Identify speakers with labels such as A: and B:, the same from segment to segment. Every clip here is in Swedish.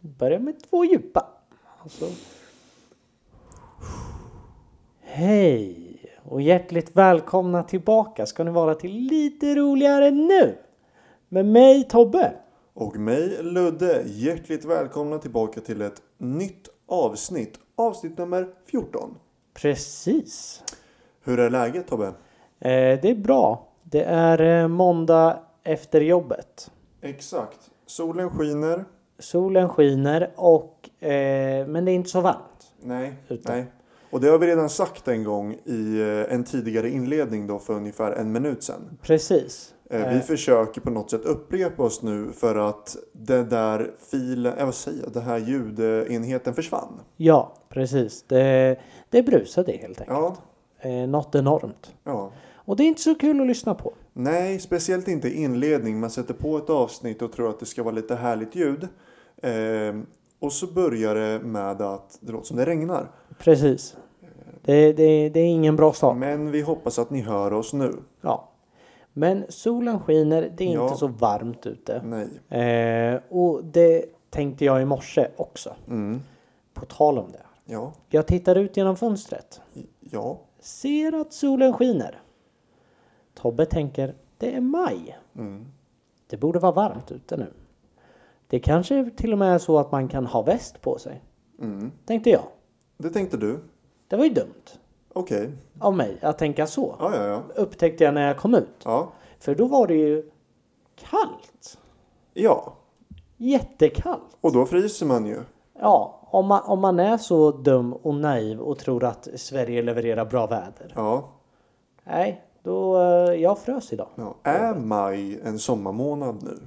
A: djupare med två djupa. Alltså. Och så. Hej och hjärtligt välkomna tillbaka ska ni vara till lite roligare nu. Med mig Tobbe.
B: Och mig Ludde, hjärtligt välkomna tillbaka till ett nytt avsnitt. Avsnitt nummer 14.
A: Precis.
B: Hur är läget Tobbe?
A: Eh, det är bra. Det är eh, måndag efter jobbet.
B: Exakt. Solen skiner.
A: Solen skiner och eh, men det är inte så varmt.
B: Nej,
A: Utan.
B: nej. Och det har vi redan sagt en gång i eh, en tidigare inledning då för ungefär en minut sedan.
A: Precis.
B: Eh, Vi försöker på något sätt upprepa oss nu för att det där filen, eh, vad säger jag, det här ljudenheten försvann.
A: Ja, precis. Det, det brusade helt enkelt.
B: Ja,
A: Eh, något enormt.
B: ja.
A: Och det är inte så kul att lyssna på.
B: Nej, speciellt inte i inledning. Man sätter på ett avsnitt och tror att det ska vara lite härligt ljud. Ehm, och så börjar det med att det låter som det regnar.
A: Precis. Det, det, det är ingen bra start.
B: Men vi hoppas att ni hör oss nu.
A: Ja. Men solen skiner, det är
B: Ja.
A: inte så varmt ute.
B: Nej.
A: Eh, och det tänkte jag i morse också.
B: Mm.
A: På tal om det.
B: Ja.
A: Jag tittar ut genom fönstret.
B: Ja.
A: Ser att solen skiner. Tobbe tänker, det är maj.
B: Mm.
A: Det borde vara varmt ute nu. Det kanske till och med är så att man kan ha väst på sig.
B: Mm.
A: Tänkte jag.
B: Det tänkte du.
A: Det var ju dumt
B: Okej.
A: av mig att tänka så.
B: Ja, ja, ja.
A: Upptäckte jag när jag kom ut.
B: Ja.
A: För då var det ju kallt.
B: Ja.
A: Jättekallt.
B: Och då fryser man ju.
A: Ja, om man, om man är så dum och naiv och tror att Sverige levererar bra väder.
B: Ja.
A: Nej, då... eh, Jag frös idag.
B: ja. Är maj en sommarmånad nu?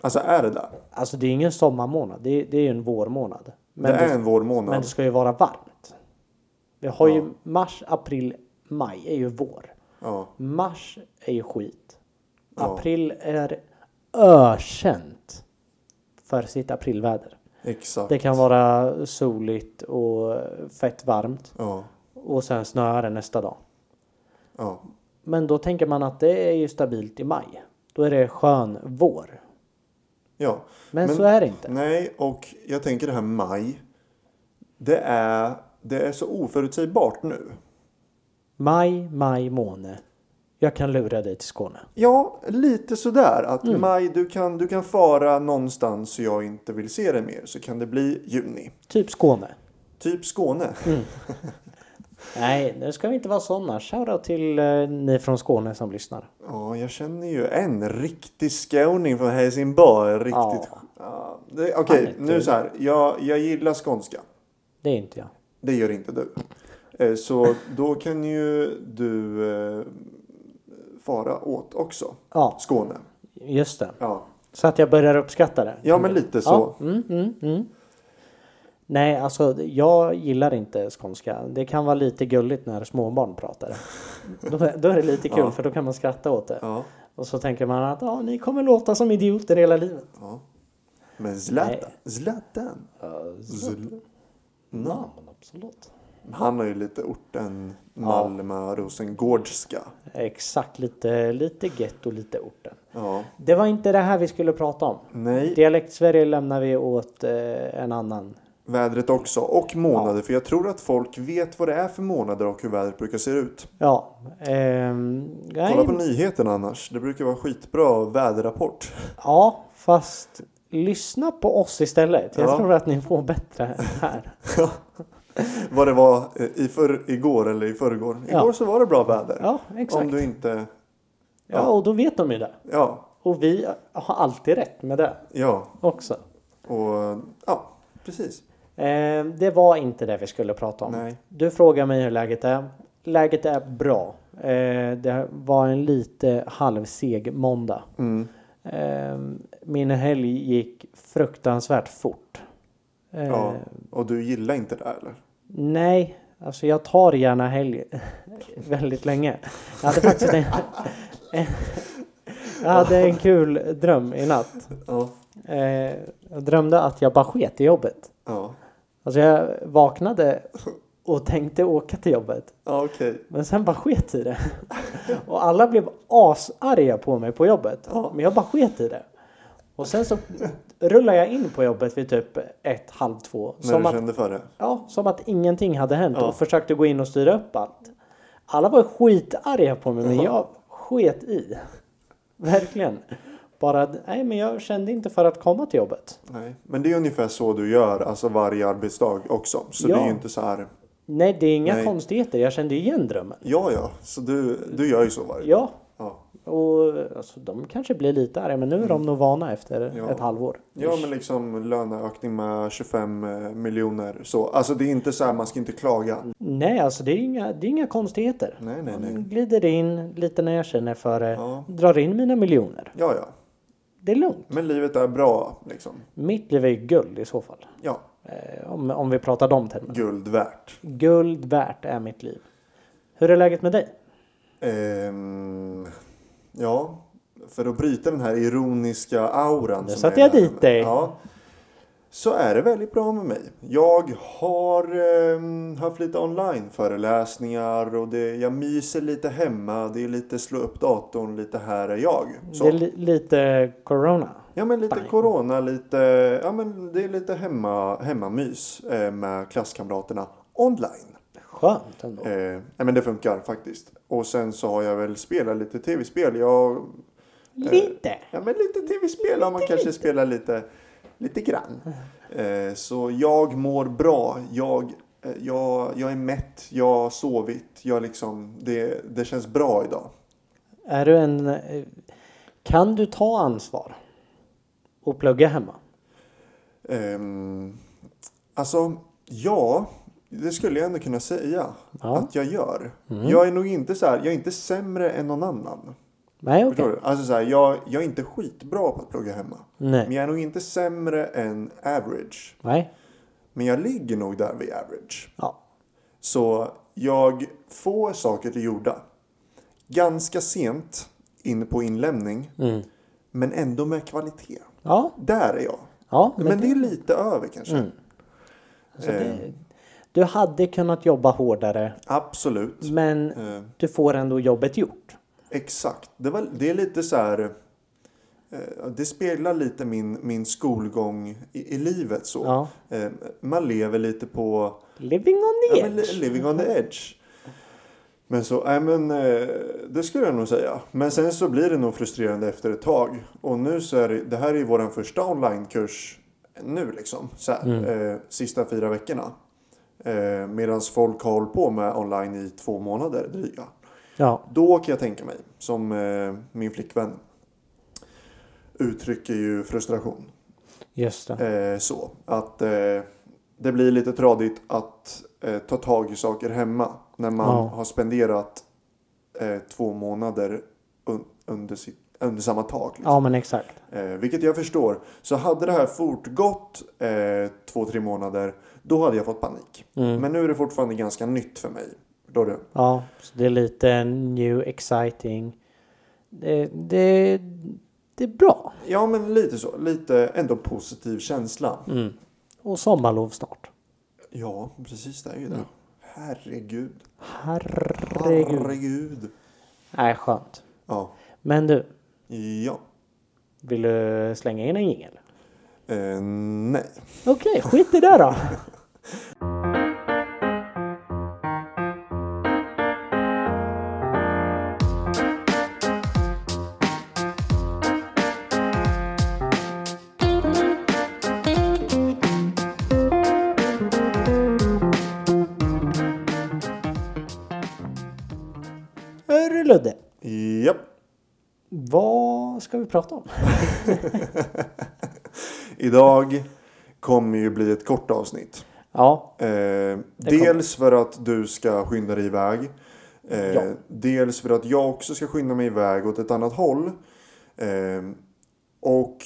B: Alltså är det där?
A: Alltså det är ingen sommarmånad. Det är, det är ju en vårmånad. Men
B: det är
A: det,
B: en vårmånad.
A: men det ska ju vara varmt. Vi har
B: Ja.
A: ju mars, april, maj är ju vår.
B: Ja.
A: Mars är ju skit.
B: Ja.
A: April är ökänt för sitt aprilväder.
B: Exakt.
A: Det kan vara soligt och fett varmt
B: Ja.
A: och sen snöar det nästa dag.
B: Ja.
A: Men då tänker man att det är ju stabilt i maj. Då är det skön vår.
B: Ja.
A: Men,
B: Men-
A: så är det inte.
B: Nej, och jag tänker det här maj. Det är, det är så oförutsägbart nu.
A: Maj, maj måne. Jag kan lura dig till Skåne.
B: Ja, lite sådär att
A: Mm.
B: maj, du kan, du kan fara någonstans så jag inte vill se dig mer så kan det bli juni.
A: Typ Skåne.
B: Typ Skåne.
A: Mm. Nej, nu ska vi inte vara sådana. Shoutout till eh, ni från Skåne som lyssnar.
B: Ja, jag känner ju en riktig skåning från Helsingborg. Riktigt.
A: Ja.
B: Ja. det- Okej,
A: Han är
B: nu
A: tur.
B: så här. Jag, jag gillar skånska.
A: Det är inte jag.
B: Det gör inte du. Eh, Så då kan ju du eh, fara åt också.
A: Ja,
B: Skåne.
A: just det.
B: Ja.
A: Så att jag börjar uppskatta det.
B: Ja, men lite så.
A: Ja, mm, mm, mm. Nej, alltså jag gillar inte skånska. Det kan vara lite gulligt när småbarn pratar. Då, då är det lite kul
B: Ja.
A: för då kan man skratta åt det.
B: Ja.
A: Och så tänker man att ja, ni kommer låta som idioter hela livet.
B: ja. Men Zlatan. Zlatan. Zl-
A: Ja, men absolut.
B: Han har ju lite orten Malmö Rosengårdska.
A: Exakt, lite, lite getto, lite orten.
B: Ja.
A: Det var inte det här vi skulle prata om.
B: Nej,
A: Dialekt-Sverige lämnar vi åt eh, en annan.
B: vädret också. Och månader. För jag tror att folk vet vad det är för månader och hur vädret brukar se ut.
A: Ja. ehm, nej,
B: Kolla på nyheterna annars. Det brukar vara skitbra väderrapport.
A: Ja, fast lyssna på oss istället. Jag
B: Ja.
A: tror att ni får bättre här.
B: vad det var eh, i för, igår eller i förrgår.
A: Ja.
B: Igår så var det bra väder.
A: Ja,
B: Om
A: exakt.
B: du inte...
A: Ja, och då vet de ju det.
B: Ja,
A: Och vi har alltid rätt med det
B: ja.
A: också.
B: Och ja, precis.
A: Eh, det var inte det vi skulle prata om.
B: Nej.
A: Du frågar mig hur läget är. Läget är bra. Eh, det var en lite halvseg måndag.
B: Mm.
A: Eh, min helg gick fruktansvärt fort. Eh,
B: Ja. Och du gillar inte det här, eller?
A: Nej, alltså jag tar gärna helg väldigt länge. Jag hade faktiskt en, jag hade en kul dröm i natt.
B: Ja.
A: Eh, jag drömde att jag bara sket i jobbet.
B: Ja,
A: Alltså jag vaknade och tänkte åka till jobbet.
B: ja okej.
A: Men sen bara sket i det. Och alla blev asarga på mig på jobbet.
B: Ja.
A: Men jag bara sket i det. Och sen så rullar jag in på jobbet vid typ ett, halv två.
B: När
A: Som
B: du
A: att,
B: kände för det.
A: ja, som att ingenting hade hänt
B: Ja.
A: och försökte gå in och styra upp allt. Alla var skitarga på mig men
B: Ja.
A: jag sket i. Verkligen. Bara, nej men jag kände inte för att komma till jobbet.
B: Nej. Men det är ungefär så du gör alltså varje arbetsdag också. Så
A: Ja.
B: det är ju inte så här.
A: Nej det är inga
B: Nej.
A: konstigheter, jag kände igen drömmen.
B: Ja, ja. Så du, du gör ju så varje dag.
A: Ja,
B: Ja.
A: och alltså, de kanske blir lite arga men nu är de nog vana efter
B: Mm. Ja.
A: ett halvår.
B: Ja, men liksom löneökning med 25 eh, miljoner. Så. Alltså det är inte så här, man ska inte klaga.
A: Nej, alltså det är inga, det är inga konstigheter.
B: Nej, nej, nej.
A: Man glider in lite när jag känner för det.
B: Ja.
A: Drar in mina miljoner.
B: Ja, ja.
A: Det är lugnt.
B: Men livet är bra liksom.
A: Mitt liv är guld i så fall.
B: Ja,
A: Eh, om, om vi pratar de termerna.
B: guld värt.
A: Guld värt är mitt liv. Hur är läget med dig?
B: Ehm, ja, för att bryta den här ironiska auran.
A: Nu
B: som
A: satte
B: är
A: jag
B: här
A: dit
B: med-
A: dig.
B: Ja, så är det väldigt bra med mig. Jag har ehm, haft lite online-föreläsningar och det, jag myser lite hemma. Det är lite slå upp datorn, lite här är jag. Så.
A: Det är li- lite corona.
B: Ja men lite
A: Bang.
B: corona, lite, ja, men det är lite hemma, hemmamys eh, med klasskamraterna online.
A: Skönt ändå.
B: Eh, nej, men det funkar faktiskt. Och sen så har jag väl spelat lite tv-spel. Jag, Eh.
A: lite.
B: ja men lite tv-spel har man kanske spelar lite, lite grann. Eh, så jag mår bra. Jag, eh, jag, jag är mätt, jag har sovit. Jag liksom, det, det känns bra idag.
A: Är du en... eh, Kan du ta ansvar? Och plugga hemma?
B: Ehm, alltså, ja. Det skulle jag ändå kunna säga
A: Ja.
B: att jag gör. Jag är nog inte så här, jag är inte sämre än någon annan.
A: Nej, okej.
B: Förstår du? Alltså så här, jag, jag är inte skitbra på att plugga hemma. Men
A: Nej.
B: jag är nog inte sämre än average.
A: Nej.
B: Men jag ligger nog där vid average.
A: Ja.
B: Så jag får saker gjorda. Ganska sent in på inlämning.
A: Mm.
B: Men ändå med kvalitet.
A: Ja.
B: Där är jag.
A: Ja. Mm.
B: Men, det är lite över kanske. Eh,
A: Alltså det, du hade kunnat jobba hårdare
B: Absolut.
A: men
B: Eh,
A: du får ändå jobbet gjort.
B: Exakt. Det, var, det är lite så här. eh, Det speglar lite min, min skolgång i, i livet. så.
A: Ja.
B: Eh, Man lever lite på
A: Living on the
B: ja, men, li-
A: edge.
B: living on the edge. Men så, nej men eh, det skulle jag nog säga. Men sen så blir det nog frustrerande efter ett tag. Och nu så är det, det här är ju vår första onlinekurs nu liksom. Så här, eh, sista fyra veckorna. Eh, Medan folk har hållit på med online i två månader dryga.
A: Ja.
B: Då kan jag tänka mig, som eh, min flickvän uttrycker ju frustration.
A: Just det.
B: Eh, så att eh, det blir lite tradigt att eh, ta tag i saker hemma när man
A: Ja.
B: har spenderat eh, två månader un- under, sitt, under samma tak. Liksom.
A: Ja men exakt.
B: Eh, vilket jag förstår. Så hade det här fortgått eh, två, tre månader då hade jag fått panik.
A: Mm.
B: Men nu är det fortfarande ganska nytt för mig. Då du?
A: Ja, så det är lite new, exciting. Det, det, det är bra.
B: Ja, men lite så. Lite ändå positiv känsla.
A: Mm. Och sommarlov snart.
B: Ja, precis. Det är ju det. Herregud.
A: Herregud.
B: Herregud.
A: Nej, skönt.
B: Ja.
A: Men du,
B: Ja.
A: vill du slänga in en jingel?
B: Eh, nej.
A: Okej, skit i det då. Hörru Ludde,
B: Japp.
A: vad ska vi prata om?
B: Idag kommer ju bli ett kort avsnitt.
A: Ja,
B: Eh, dels för att du ska skynda dig iväg. Eh,
A: Ja.
B: Dels för att jag också ska skynda mig iväg åt ett annat håll. Eh, och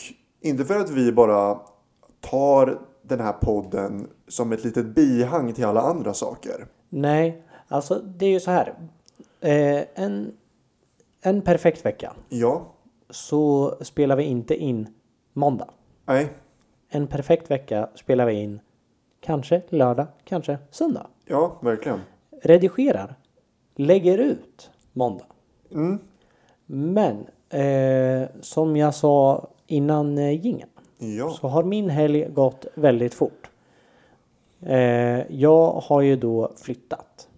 B: inte för att vi bara tar den här podden som ett litet bihang till alla andra saker.
A: Nej, alltså det är ju så här. Eh, en, en perfekt vecka
B: Ja,
A: så spelar vi inte in måndag.
B: nej,
A: En perfekt vecka spelar vi in kanske lördag, kanske söndag.
B: ja, verkligen.
A: Redigerar, lägger ut måndag.
B: Mm.
A: Men eh, som jag sa innan eh, jingeln
B: Ja.
A: så har min helg gått väldigt fort. Eh, jag har ju då flyttat.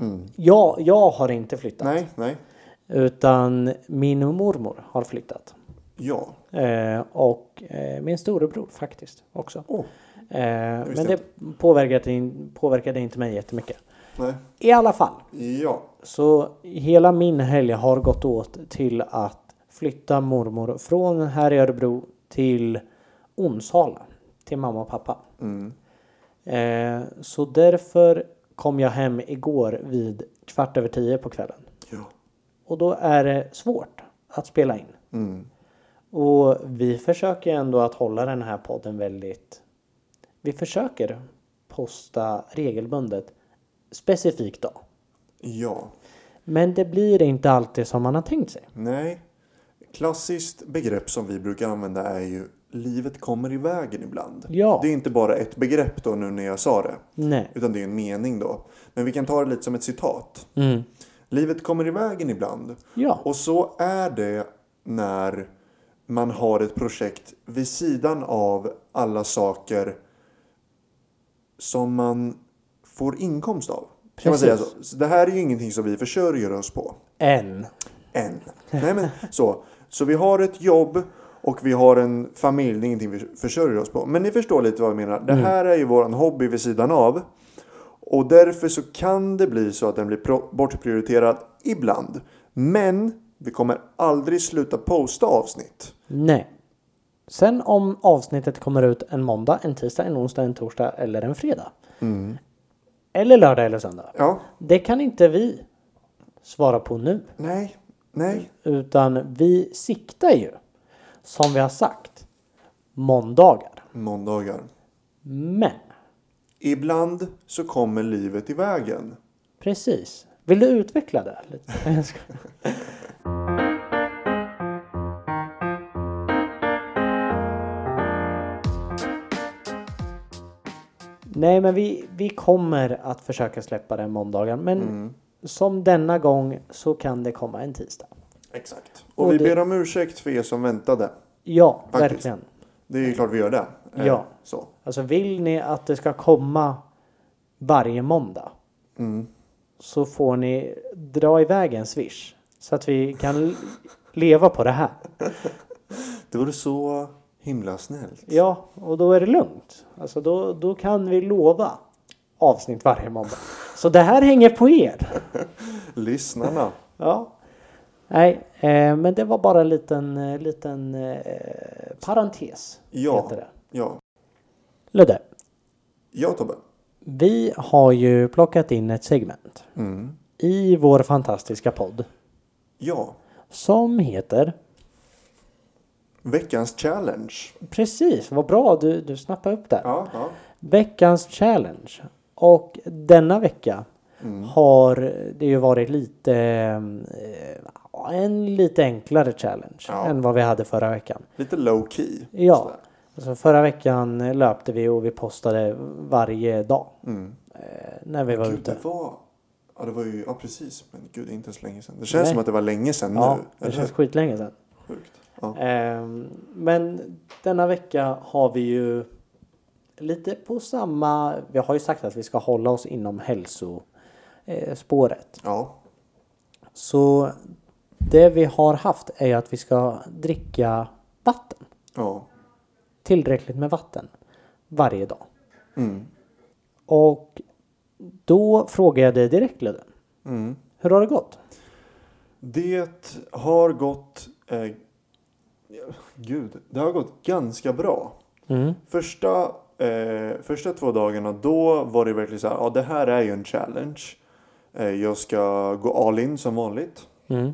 B: Mm.
A: Jag, jag har inte flyttat.
B: Nej, nej.
A: Utan min mormor har flyttat.
B: Ja.
A: Eh, och eh, min storebror faktiskt också.
B: Åh,
A: Eh, men
B: visste
A: det påverkade, in- påverkade inte mig jättemycket.
B: nej.
A: I alla fall.
B: Ja.
A: Så hela min helg har gått åt till att flytta mormor från här i Örebro till Onsala. Till mamma och pappa.
B: Mm.
A: Eh, så därför kom jag hem igår vid kvart över tio på kvällen.
B: Ja.
A: Och då är det svårt att spela in.
B: Mm.
A: Och vi försöker ändå att hålla den här podden väldigt... Vi försöker posta regelbundet specifikt då.
B: Ja.
A: Men det blir inte alltid som man har tänkt sig.
B: Nej. Klassiskt begrepp som vi brukar använda är ju livet kommer i vägen ibland.
A: Ja.
B: Det är inte bara ett begrepp då nu när jag sa det.
A: Nej.
B: Utan det är en mening då. Men vi kan ta det lite som ett citat.
A: Mm.
B: Livet kommer i vägen ibland.
A: Ja.
B: Och så är det när man har ett projekt vid sidan av alla saker som man får inkomst av. Kan man
A: Precis.
B: säga så? så det här är ju ingenting som vi försörjer oss på.
A: En.
B: Än. Nej, men, så. så vi har ett jobb och vi har en familj. Det är ingenting vi försörjer oss på. Men ni förstår lite vad jag menar. Det här är ju vår hobby vid sidan av. Och därför så kan det bli så att den blir pro- bortprioriterad ibland. Men vi kommer aldrig sluta posta avsnitt.
A: Nej. Sen om avsnittet kommer ut en måndag, en tisdag, en onsdag, en torsdag eller en fredag. Eller lördag eller söndag.
B: Ja,
A: Det kan inte vi svara på nu.
B: nej, nej.
A: Utan vi siktar ju, som vi har sagt, måndagar.
B: Måndagar.
A: Men,
B: Ibland så kommer livet i vägen.
A: precis. Vill du utveckla det här lite? Jag skojar. Nej, men vi, vi kommer att försöka släppa den måndagen. Men som denna gång så kan det komma en tisdag.
B: Exakt.
A: Och
B: Och vi
A: det-
B: ber om ursäkt för er som väntade.
A: Ja,
B: Faktiskt.
A: verkligen.
B: Det är ju klart vi gör det. Eh,
A: Ja.
B: Så.
A: Alltså vill ni att det ska komma varje måndag
B: Mm.
A: så får ni dra iväg en swish så att vi kan l- leva på det här.
B: Det vore så himla snällt.
A: Ja, och då är det lugnt. Alltså då, då kan vi lova avsnitt varje måndag. Så det här hänger på er.
B: Lyssnarna.
A: Ja. Nej, eh, men det var bara en liten, eh, liten eh, parentes.
B: Ja.
A: Heter det.
B: Ja.
A: Ludde,
B: Ja, Tobbe.
A: vi har ju plockat in ett segment
B: Mm.
A: i vår fantastiska podd
B: Ja.
A: som heter
B: Veckans challenge.
A: Precis, vad bra du, du snappade upp där.
B: Ja, ja.
A: Veckans challenge. Och denna vecka
B: Mm.
A: har det ju varit lite eh, ja, en lite enklare challenge
B: Ja.
A: än vad vi hade förra veckan.
B: Lite low key.
A: Ja,
B: Sådär.
A: alltså förra veckan löpte vi och vi postade varje dag
B: Mm.
A: eh, när vi var
B: Gud,
A: ute.
B: det var... Ja, det var ju... Ja, precis. Men gud, det är inte ens länge sedan. Det känns
A: Nej.
B: som att det var länge sedan
A: Ja,
B: nu.
A: det
B: Eller
A: känns
B: hur?
A: skitlänge sedan.
B: sjukt. Ja.
A: Ehm, Men denna vecka har vi ju lite på samma... Vi har ju sagt att vi ska hålla oss inom hälsospåret.
B: ja.
A: Så det vi har haft är ju att vi ska dricka vatten.
B: Ja.
A: Tillräckligt med vatten varje dag.
B: Mm.
A: Och då frågar jag dig direkt Ludde.
B: Mm.
A: Hur har det gått?
B: Det har gått... Eh, gud, det har gått ganska bra.
A: Mm.
B: Första, eh, första två dagarna då var det verkligen så här, ja det här är ju en challenge. Eh, jag ska gå all in som vanligt.
A: Mm.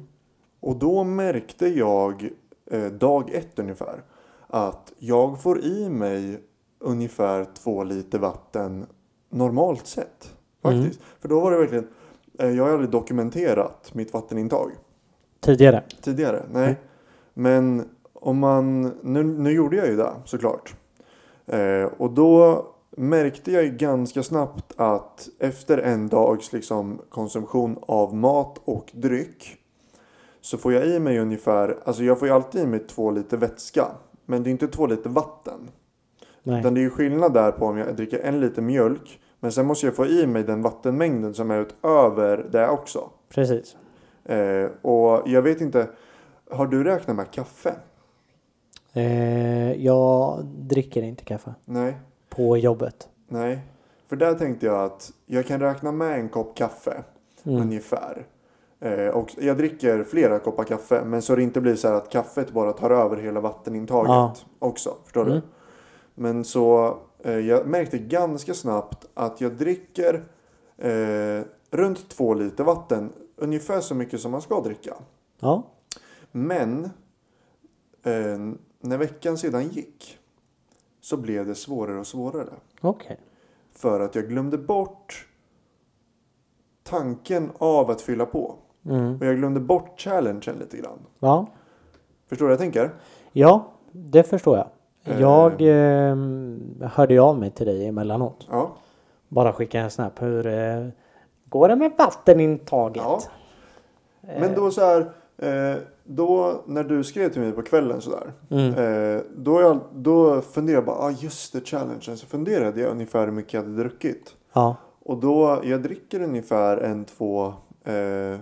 B: Och då märkte jag eh, dag ett ungefär att jag får i mig ungefär två liter vatten normalt sett. Faktiskt. För då var det verkligen, eh, jag har aldrig dokumenterat mitt vattenintag
A: Tidigare?
B: tidigare. Nej. Men om man, nu, nu gjorde jag ju det såklart. Eh, och då märkte jag ju ganska snabbt att efter en dags liksom, konsumtion av mat och dryck så får jag i mig ungefär, alltså jag får ju alltid i mig två liter vätska Men det är inte två liter vatten.
A: Nej.
B: Utan det är ju skillnad där på om jag dricker en liter mjölk. Men sen måste jag få i mig den vattenmängden som är utöver det också.
A: Precis.
B: Eh, och jag vet inte. Har du räknat med kaffe?
A: Eh, jag dricker inte kaffe
B: Nej.
A: på jobbet.
B: Nej. För där tänkte jag att jag kan räkna med en kopp kaffe.
A: Mm.
B: Ungefär. Eh, och jag dricker flera koppar kaffe. Men så det inte blir så här att kaffet bara tar över hela vattenintaget
A: Ja.
B: också. Förstår
A: Mm.
B: du? Men så eh, jag märkte ganska snabbt att jag dricker eh, runt två liter vatten. Ungefär så mycket som man ska dricka.
A: Ja,
B: Men eh, när veckan sedan gick så blev det svårare och svårare.
A: okej.
B: För att jag glömde bort tanken av att fylla på.
A: Mm.
B: Och jag glömde bort challengen lite grann.
A: Ja.
B: Förstår du vad jag tänker?
A: ja, det förstår jag.
B: Eh.
A: Jag eh, hörde ju av mig till dig emellanåt.
B: Ja.
A: Bara skicka en snap. Hur eh, går det med vattenintaget?
B: ja. Men då så här. eh, Då när du skrev till mig på kvällen sådär.
A: Mm.
B: eh, Då, jag, då funderade jag bara, ah, just det, challengen. Så funderade jag ungefär hur mycket jag hade druckit.
A: Ja.
B: Och då, jag dricker ungefär en, två eh,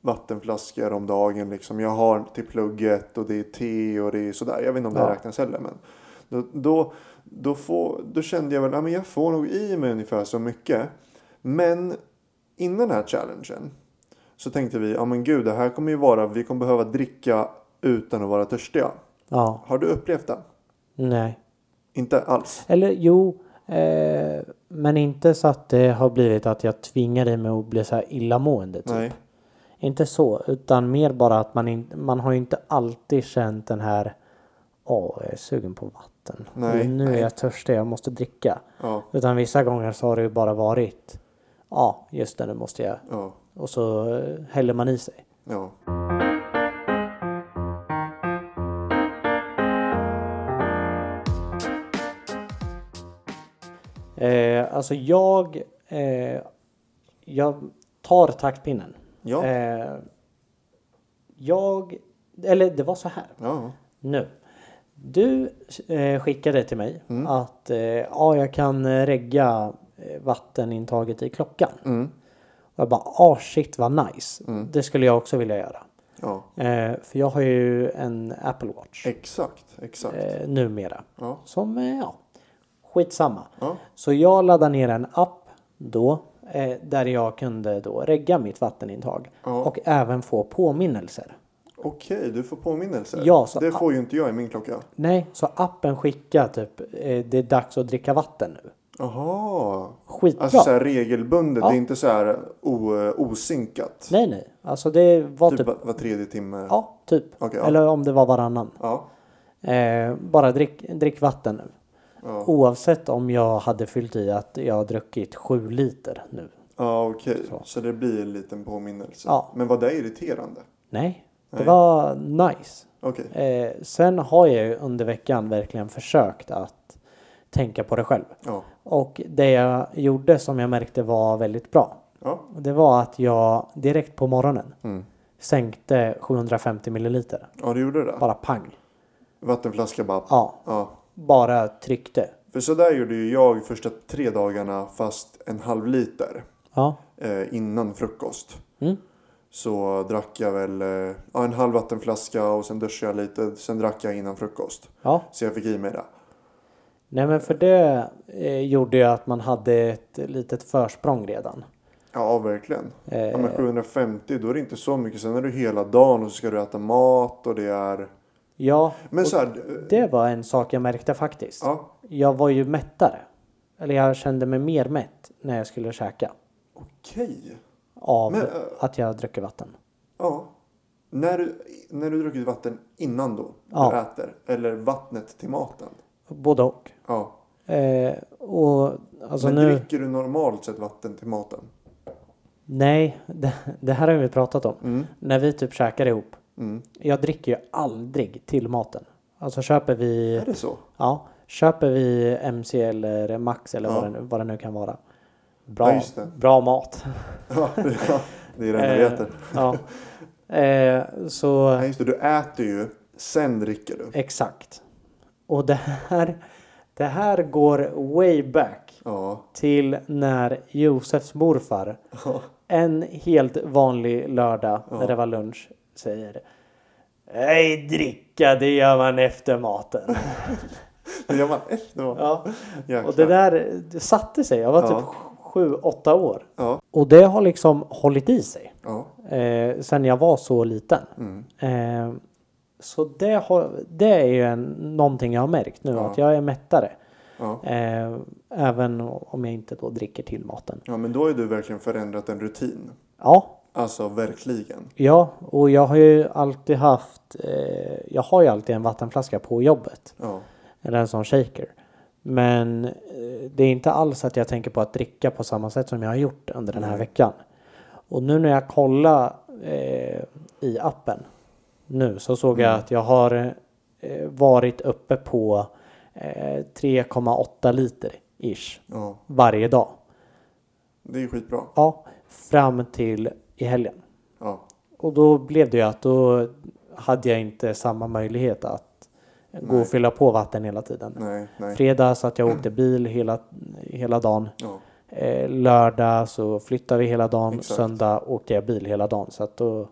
B: vattenflaskor om dagen. Liksom. Jag har till plugget och det är te och det är sådär. Jag vet inte om det
A: Ja.
B: räknas heller. Men då, då, då, får, då kände jag väl att jag får nog i mig ungefär så mycket. Men innan den här challengen så tänkte vi, ja men gud det här kommer ju vara, vi kommer behöva dricka utan att vara törstiga.
A: Ja.
B: Har du upplevt det?
A: Nej.
B: Inte alls?
A: Eller jo. Eh, men inte så att det har blivit att jag tvingar dig med att bli så här illamående. Typ.
B: Nej.
A: Inte så, utan mer bara att man, in, man har ju inte alltid känt den här Åh, jag är sugen på vatten.
B: Nej,
A: Eller, nu
B: nej.
A: är jag törstig, jag måste dricka.
B: Ja.
A: Utan vissa gånger så har det ju bara varit Ja, just det, nu måste jag.
B: Ja.
A: Och så eh, häller man i sig.
B: Ja.
A: Eh, alltså jag eh, Jag tar taktpinnen.
B: Ja.
A: Eh, jag Eller det var så här.
B: Ja.
A: Nu. Du eh, skickade till mig
B: Mm.
A: att eh, ja, jag kan eh, regga eh, vattenintaget i klockan.
B: Mm.
A: Och jag bara, ah shit vad nice. Det skulle jag också vilja göra.
B: Ja.
A: Eh, för jag har ju en Apple Watch
B: Exakt. Exakt.
A: eh, numera.
B: Ja.
A: Som, eh, ja, skitsamma.
B: Ja.
A: Så jag laddade ner en app då. Eh, där jag kunde då regga mitt vattenintag.
B: Ja.
A: Och även få påminnelser.
B: Okej, du får påminnelser.
A: Ja, så-
B: det får ju inte jag i min klocka.
A: Nej, så appen skickar typ eh, det är dags att dricka vatten nu.
B: Jaha.
A: Skitbra.
B: Alltså så här regelbundet.
A: Ja.
B: Det är inte så här o, eh, osynkat.
A: nej, nej. Alltså det var
B: typ
A: typ...
B: var, var tredje timme.
A: Ja, typ.
B: Okej, ja.
A: Eller om det var varannan.
B: Ja.
A: Eh, bara drick, drick vatten nu.
B: Ja,
A: Oavsett om jag hade fyllt i att jag har druckit sju liter nu.
B: ja okej.
A: Så.
B: Så. det blir en liten påminnelse.
A: Ja.
B: Men var det irriterande?
A: Nej, det
B: Nej.
A: var nice.
B: Okej.
A: Eh, sen har jag ju under veckan verkligen försökt att tänka på det själv.
B: Ja.
A: Och det jag gjorde som jag märkte var väldigt bra.
B: Ja.
A: Det var att jag direkt på morgonen
B: Mm.
A: sänkte 750 milliliter.
B: Ja, du gjorde det.
A: Bara pang.
B: Vattenflaska bara.
A: Ja,
B: Ja.
A: bara tryckte.
B: För så där gjorde ju jag första tre dagarna fast en halv liter
A: Ja.
B: eh, innan frukost.
A: Mm.
B: Så drack jag väl eh, ja, en halv vattenflaska och sen duschade jag lite. Sen drack jag innan frukost.
A: ja.
B: Så jag fick i mig det.
A: Nej men för det eh, gjorde ju att man hade ett litet försprång redan.
B: Ja, verkligen. Ja, men
A: Eh,
B: 750, då är det inte så mycket. Sen är du hela dagen och så ska du äta mat och det är...
A: ja,
B: Men
A: och
B: så här... eh,
A: det var en sak jag märkte faktiskt.
B: Ja,
A: Jag var ju mättare. Eller jag kände mig mer mätt när jag skulle käka.
B: okej.
A: Av
B: Men, eh,
A: att jag dricker vatten.
B: Ja. När du, när du druckit vatten innan då,
A: Ja.
B: du äter. Eller vattnet till maten.
A: Både och.
B: Ja.
A: Eh, och alltså
B: men
A: nu...
B: dricker du normalt sett vatten till maten?
A: Nej, det, det här har vi pratat om.
B: Mm.
A: När vi typ käkar ihop.
B: Mm.
A: Jag dricker ju aldrig till maten. Alltså köper vi...
B: Är det så?
A: Ja, köper vi MC eller Max eller
B: Ja.
A: vad, det, nu- vad det nu kan vara. Bra,
B: Ja, just det.
A: bra mat.
B: Ja, det är det enda vi
A: Eh,
B: äter.
A: ja. Eh, så
B: Nej, just det. Du äter ju, sen dricker du.
A: exakt. Och det här, det här går way back
B: Ja.
A: till när Josefs morfar
B: Ja.
A: en helt vanlig lördag när
B: Ja.
A: det var lunch säger Nej, dricka det gör man efter maten.
B: Det gör man efteråt.
A: ja.
B: Jäklar.
A: Och det där det satte sig. Jag var
B: Ja.
A: typ sju, åtta år.
B: Ja.
A: Och det har liksom hållit i sig.
B: Ja.
A: Eh, sen jag var så liten.
B: Mm.
A: Eh, så det, har, det är ju en, någonting jag har märkt nu.
B: Ja.
A: Att jag är mättare.
B: Ja.
A: Eh, även om jag inte då dricker till maten.
B: ja, men då har ju du verkligen förändrat en rutin.
A: Ja,
B: Alltså verkligen.
A: Ja, och jag har ju alltid haft. Eh, jag har ju alltid en vattenflaska på jobbet.
B: Ja.
A: Eller en sån shaker. Men eh, det är inte alls att jag tänker på att dricka på samma sätt som jag har gjort under den här veckan. Och nu när jag kollar eh, i appen nu så såg jag att jag har eh, varit uppe på eh, 3,8 liter ish
B: Ja.
A: varje dag.
B: Det är skitbra.
A: Ja, fram till i helgen.
B: Ja.
A: Och då blev det ju att då hade jag inte samma möjlighet att gå och fylla på vatten hela tiden.
B: Nej. Nej.
A: Fredag så att jag åkte bil hela, hela dagen.
B: Ja.
A: Eh, lördag så flyttade vi hela dagen.
B: Exakt.
A: Söndag åkte jag bil hela dagen. Så att då,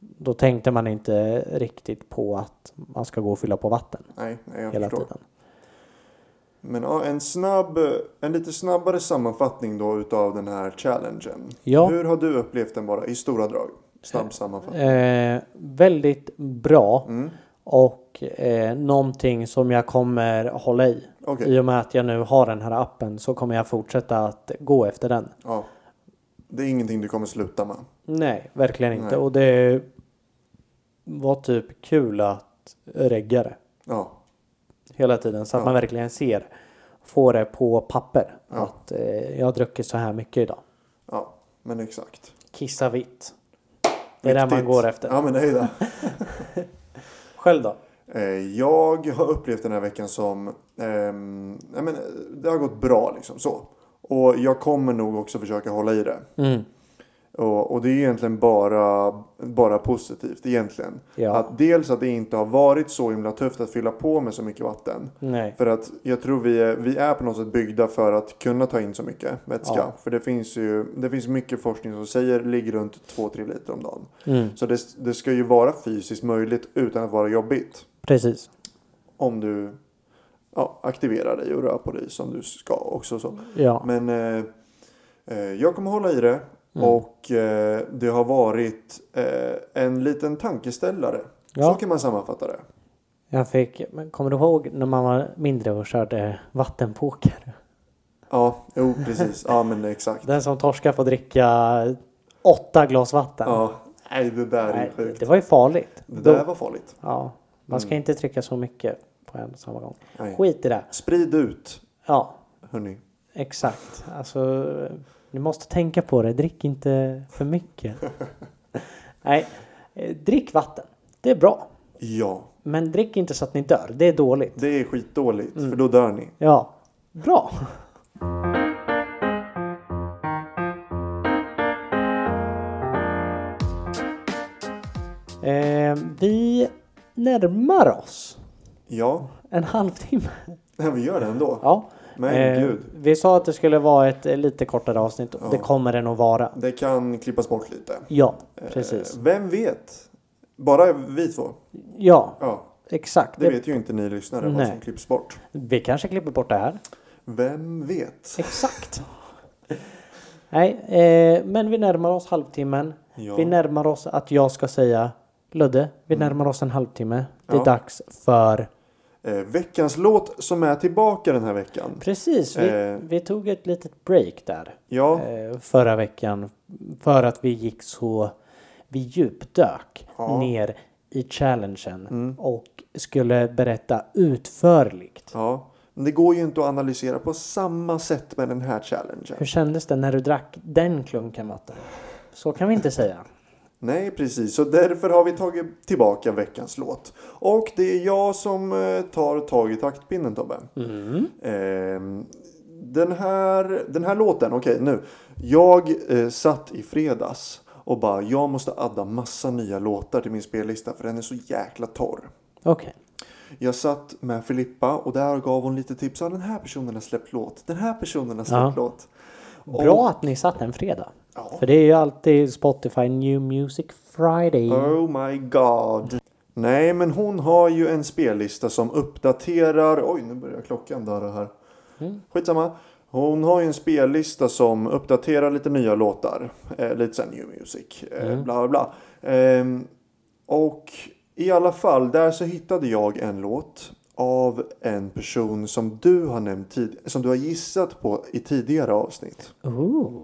A: då tänkte man inte riktigt på att man ska gå och fylla på vatten
B: Nej. Nej. Jag
A: hela
B: förstår.
A: tiden.
B: Men ja, en snabb, en lite snabbare sammanfattning då utav den här challengen.
A: Ja.
B: Hur har du upplevt den bara i stora drag? Snabb sammanfattning.
A: Eh, väldigt bra
B: Mm.
A: och eh, någonting som jag kommer hålla i.
B: Okej.
A: I och med att jag nu har den här appen så kommer jag fortsätta att gå efter den.
B: Ja. Det är ingenting du kommer sluta med.
A: Nej, verkligen inte.
B: Nej.
A: Och det var typ kul att regga det
B: Ja.
A: hela tiden. Så att
B: Ja.
A: man verkligen ser, får det på papper.
B: Ja.
A: Att eh, jag har druckit så här mycket idag.
B: Ja. Men exakt.
A: Kissa vitt. Det är det man
B: Viktigt.
A: går efter.
B: Ja men det är det.
A: Själv då?
B: Eh, Jag har upplevt den här veckan som... ehm, nej men, eh, det har gått bra liksom. Så. Och jag kommer nog också försöka hålla i det.
A: Mm.
B: Och, och det är egentligen bara, bara positivt egentligen.
A: Ja.
B: Att dels att det inte har varit så himla tufft att fylla på med så mycket vatten.
A: Nej.
B: För att jag tror vi är, vi är på något sätt byggda för att kunna ta in så mycket vätska.
A: Ja.
B: För det finns ju det finns mycket forskning som säger ligger runt 2-3 liter om dagen.
A: Mm.
B: Så det, det ska ju vara fysiskt möjligt utan att vara jobbigt
A: Precis.
B: om du ja, aktiverar dig och rör på dig som du ska också. Så.
A: Ja.
B: Men eh, eh, jag kommer hålla i det
A: Mm.
B: och eh, det har varit eh, en liten tankeställare.
A: Ja.
B: Så kan man sammanfatta det.
A: Jag fick, men kommer du ihåg när man var mindre och körde vattenpoker?
B: Ja, jo precis. Ja men exakt.
A: Den som torskar får dricka åtta glas vatten.
B: Ja, nej det där är
A: Nej,
B: ju sjukt.
A: det var ju farligt.
B: Det
A: Då-
B: där var farligt.
A: Ja, man ska inte trycka så mycket på en och samma gång.
B: Nej.
A: Skit i det.
B: Sprid ut,
A: Ja,
B: hörni.
A: exakt. Alltså, ni måste tänka på det. Drick inte för mycket. Nej, eh, drick vatten. Det är bra.
B: Ja,
A: Men drick inte så att ni dör. Det är dåligt.
B: det är skitdåligt
A: Mm.
B: för då dör ni.
A: Ja, bra. Eh, vi närmar oss
B: Ja,
A: en halvtimme.
B: Nej, vi gör det ändå.
A: Ja.
B: Men
A: Eh,
B: gud.
A: Vi sa att det skulle vara ett eh, lite kortare avsnitt och det kommer det nog vara.
B: Det kan klippas bort lite.
A: Ja, precis.
B: Eh, Vem vet? Bara vi två.
A: Ja,
B: Ja,
A: exakt.
B: det
A: Det,
B: vet ju inte ni lyssnare vad
A: Nej.
B: som klipps bort.
A: vi kanske klipper bort det här.
B: Vem vet?
A: Exakt. Nej, eh, men vi närmar oss halvtimmen.
B: Ja. Mm.
A: Vi närmar oss att jag ska säga Ludde, vi närmar oss en halvtimme. Det är
B: Ja.
A: dags för...
B: Eh, veckans låt som är tillbaka den här veckan.
A: Precis, vi,
B: Eh.
A: vi tog ett litet break där
B: Ja,
A: eh, förra veckan. För att vi gick så... Vi djupdök
B: Ja. Mm.
A: ner i challengen och skulle berätta utförligt.
B: ja. Men det går ju inte att analysera på samma sätt med den här challengen.
A: Hur kändes det när du drack den klunken vatten? Så kan vi inte säga.
B: Nej, precis. Så därför har vi tagit tillbaka veckans låt. Och det är jag som eh, tar tag i taktpinnen, Tobbe.
A: Mm.
B: Ehm, den, här, den här låten, okej nu. Jag eh, satt i fredags och bara, jag måste adda massa nya låtar till min spellista för den är så jäkla torr.
A: Okej.
B: Jag satt med Filippa och där gav hon lite tips. Ja, den här personen har släppt låt. Den här personen har släppt
A: Ja.
B: låt. Och-
A: Bra att ni satt en fredag.
B: Ja.
A: För det är ju alltid Spotify New Music Friday.
B: Oh my god. Nej, men hon har ju en spellista som uppdaterar. Oj, nu börjar klockan darra här.
A: Mm.
B: Skitsamma. Hon har ju en spellista som uppdaterar lite nya låtar. Eh, lite såhär new music. Eh,
A: Mm.
B: Bla bla bla. Ehm, och i alla fall, där så hittade jag en låt av en person som du har nämnt tid- som du har gissat på i tidigare avsnitt.
A: Ooh.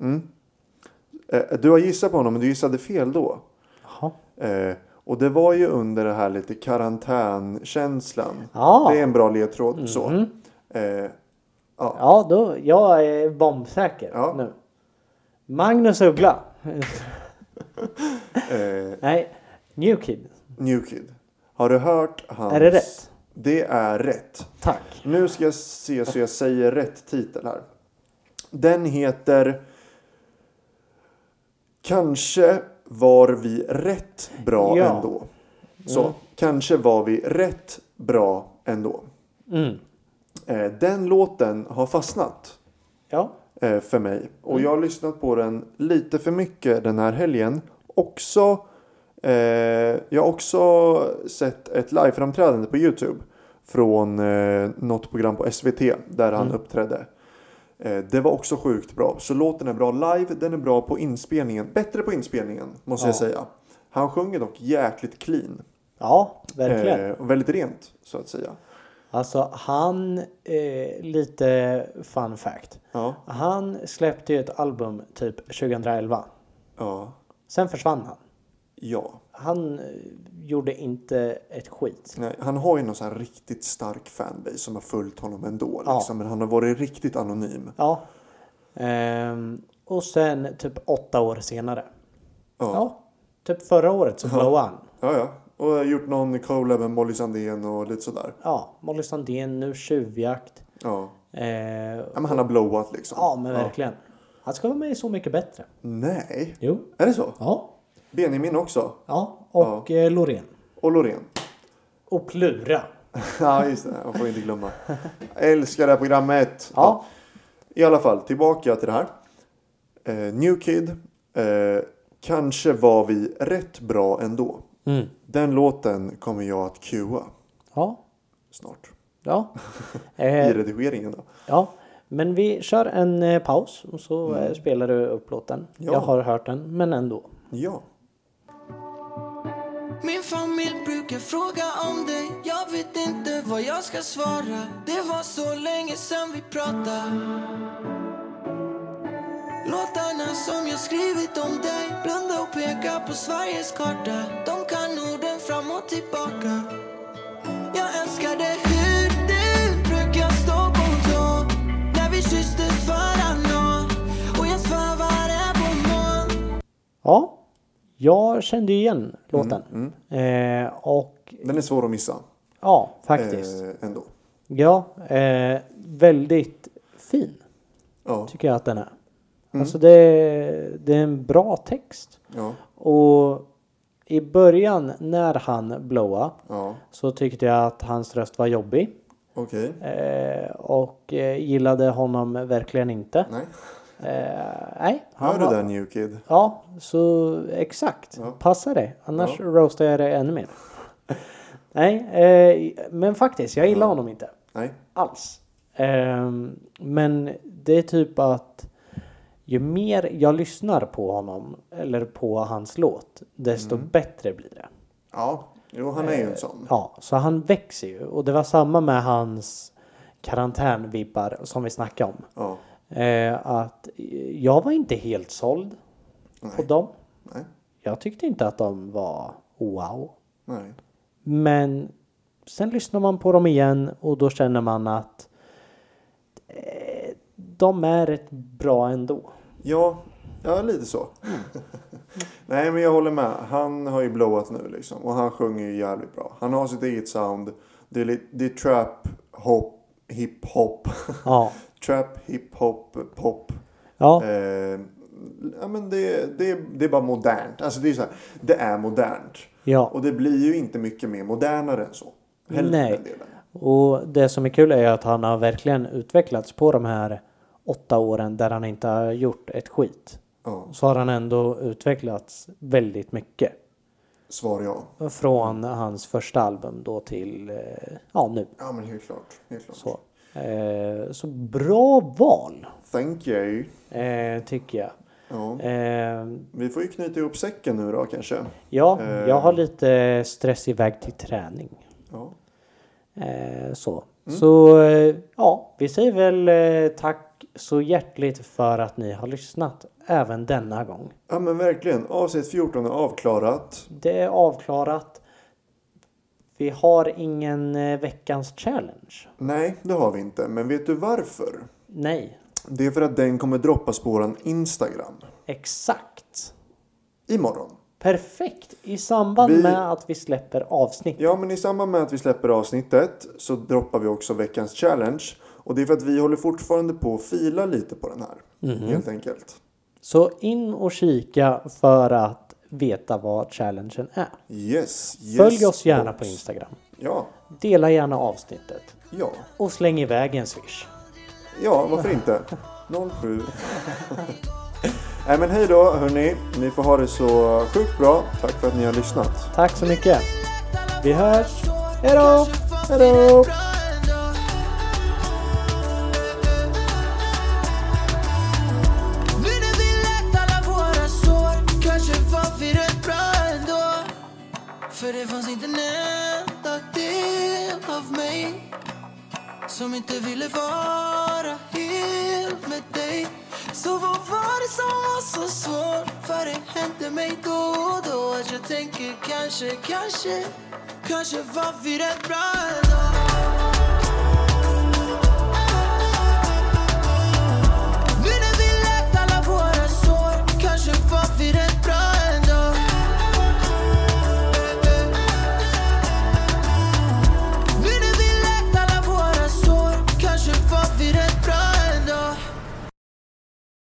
B: Mm. Eh, du har gissat på honom men du gissade fel då.
A: Jaha.
B: Eh, och det var ju under det här lite karantänkänslan.
A: Ja.
B: Det är en bra ledtråd. Så.
A: Mhm.
B: Eh,
A: Ja, då, jag är bombsäker
B: Ja.
A: nu. Magnus Uggla.
B: eh,
A: Nej, New Kid.
B: New Kid. Har du hört hans...
A: Är det rätt?
B: Det är rätt.
A: Tack.
B: Nu ska jag se så jag säger rätt titel här. Den heter... Kanske var vi rätt bra
A: Ja.
B: ändå. Så, kanske var vi rätt bra ändå.
A: Mm.
B: Eh, den låten har fastnat.
A: Ja.
B: eh, för mig. Och
A: Mm.
B: jag har lyssnat på den lite för mycket den här helgen. Också, eh, jag har också sett ett liveframträdande på Youtube. Från eh, något program på SVT där
A: Mm.
B: han uppträdde. Eh, det var också sjukt bra. Så låten är bra live, den är bra på inspelningen. Bättre på inspelningen måste jag
A: Ja.
B: säga. Han sjunger dock jäkligt clean.
A: Ja, verkligen.
B: Eh, och väldigt rent så att säga.
A: Alltså han, eh, lite fun fact.
B: Ja,
A: Han släppte ju ett album typ 2011.
B: ja,
A: Sen försvann han.
B: ja.
A: Han eh, gjorde inte ett skit.
B: Nej, han har ju någon sån här riktigt stark fanbase som har följt honom ändå.
A: Ja.
B: Liksom, men han har varit riktigt anonym.
A: Ja. Ehm, och sen typ åtta år senare. Ja.
B: Ja.
A: typ förra året så blowade han.
B: Ja, ja. Och jag har gjort någon collab med Molly Sandén och lite sådär.
A: Ja, Molly Sandén, nu tjuvjakt.
B: Ja.
A: Eh,
B: ja men han har blowat liksom.
A: ja, men verkligen. Han ska vara med i Så mycket bättre.
B: Nej.
A: Jo.
B: Är det så?
A: Ja.
B: Benjamin också.
A: Ja, och eh, Loreen.
B: Och Loreen.
A: Och Plura.
B: ja, just det. Man får inte glömma. Jag älskar det här programmet.
A: Ja.
B: I alla fall, tillbaka till det här. Eh, New Kid. Eh, kanske var vi rätt bra ändå.
A: Mm.
B: Den låten kommer jag att cuea
A: Ja.
B: snart.
A: Ja.
B: I
A: Eh,
B: redigeringen då.
A: ja. Men vi kör en eh, paus och så eh, spelar du upp låten.
B: Ja.
A: Jag har hört den, men ändå.
B: Ja.
C: Min familj brukar fråga om dig Jag vet inte vad jag ska svara Det var så länge sedan vi pratade Låtarna som jag skrivit om dig Blunda och peka på Sveriges karta De kan orden fram och tillbaka Jag älskar det hur du brukar stå på tå När vi kysstes varannan Och jag svävade på moln
A: Ja. Jag kände ju igen låten. Eh, och
B: Den är svår att missa.
A: ja, faktiskt.
B: Eh, ändå.
A: Ja. Eh, väldigt fin
B: Ja.
A: tycker jag att den är. Alltså det, det är en bra text.
B: Ja.
A: Och i början när han blåa
B: Ja.
A: så tyckte jag att hans röst var jobbig.
B: Okej.
A: Eh, och eh, gillade honom verkligen inte.
B: Nej.
A: Eh, nej.
B: Hör du
A: var-
B: det New Kid?
A: Ja, så exakt.
B: Ja.
A: Passa dig. Annars
B: Ja.
A: roastar jag dig ännu mer. nej, eh, men faktiskt, jag gillar honom inte
B: Nej.
A: alls. Ehm, men det är typ att ju mer jag lyssnar på honom eller på hans låt, desto
B: Mm.
A: bättre blir det.
B: Ja. Jo, han är ju en sån.
A: Eh, Ja, så han växer ju. Och det var samma med hans karantänvibbar som vi snackade om.
B: Ja.
A: Eh, att eh, jag var inte helt såld på
B: Nej.
A: dem.
B: Nej.
A: Jag tyckte inte att de var wow.
B: Nej.
A: Men sen lyssnar man på dem igen och då känner man att eh, de är rätt bra ändå.
B: Ja. Ja, lite så.
A: Mm.
B: Nej, men jag håller med. Han har ju blowat nu liksom. Och han sjunger ju jävligt bra. Han har sitt eget sound. Det är, lite, det är trap, hop, hiphop.
A: Ja,
B: trap, hiphop, pop.
A: ja,
B: Eh, ja, men det, det, det är bara modernt. Alltså det är så här, det är modernt.
A: ja,
B: Och det blir ju inte mycket mer modernare än så. heller.
A: Nej.
B: den delen.
A: Och det som är kul är att han har verkligen utvecklats på de här åtta åren där han inte har gjort ett skit.
B: Ja,
A: Så har han ändå utvecklats väldigt mycket.
B: svar ja.
A: Från hans första album då till, eh, ja nu.
B: Ja men helt klart. Helt klart.
A: Så, eh, så bra val,
B: Thank you.
A: eh, tycker jag.
B: Ja.
A: Eh,
B: Vi får ju knyta ihop säcken nu då kanske.
A: ja,
B: Eh.
A: jag har lite stress iväg till träning.
B: Ja.
A: Eh, så.
B: Mm.
A: Så eh, ja, vi säger väl eh, tack så hjärtligt för att ni har lyssnat även denna gång.
B: ja men verkligen. Avsnitt 14 är avklarat.
A: Det är avklarat. Vi har ingen eh, veckans challenge.
B: Nej, det har vi inte. Men vet du varför?
A: Nej,
B: Det är för att den kommer droppas på våran Instagram.
A: exakt.
B: Imorgon.
A: Perfekt i samband
B: Vi-
A: med att vi släpper avsnitt.
B: Ja, men i samband med att vi släpper avsnittet så droppar vi också veckans challenge. Och det är för att vi håller fortfarande på att fila lite på den här.
A: Mhm.
B: Helt enkelt.
A: Så in och kika för att veta vad challengen är.
B: Yes, yes.
A: Följ oss gärna
B: boss.
A: på Instagram.
B: Ja,
A: Dela gärna avsnittet.
B: ja,
A: Och släng iväg en swish.
B: ja, varför inte? 07. Nej men hej då hörni. Ni får ha det så sjukt bra. Tack för att ni har lyssnat.
A: Tack så mycket. Vi hörs. Hej då!
C: Hejdå! Hejdå! Nu när vi läkt alla våra sår kanske var vi rätt bra ändå För det fanns inte en enda del av mig som inte ville vara helt med dig Så vad var det som var så svårt? För det hände mig då och då att jag tänker kanske, kanske, kanske var vi rätt bra ändå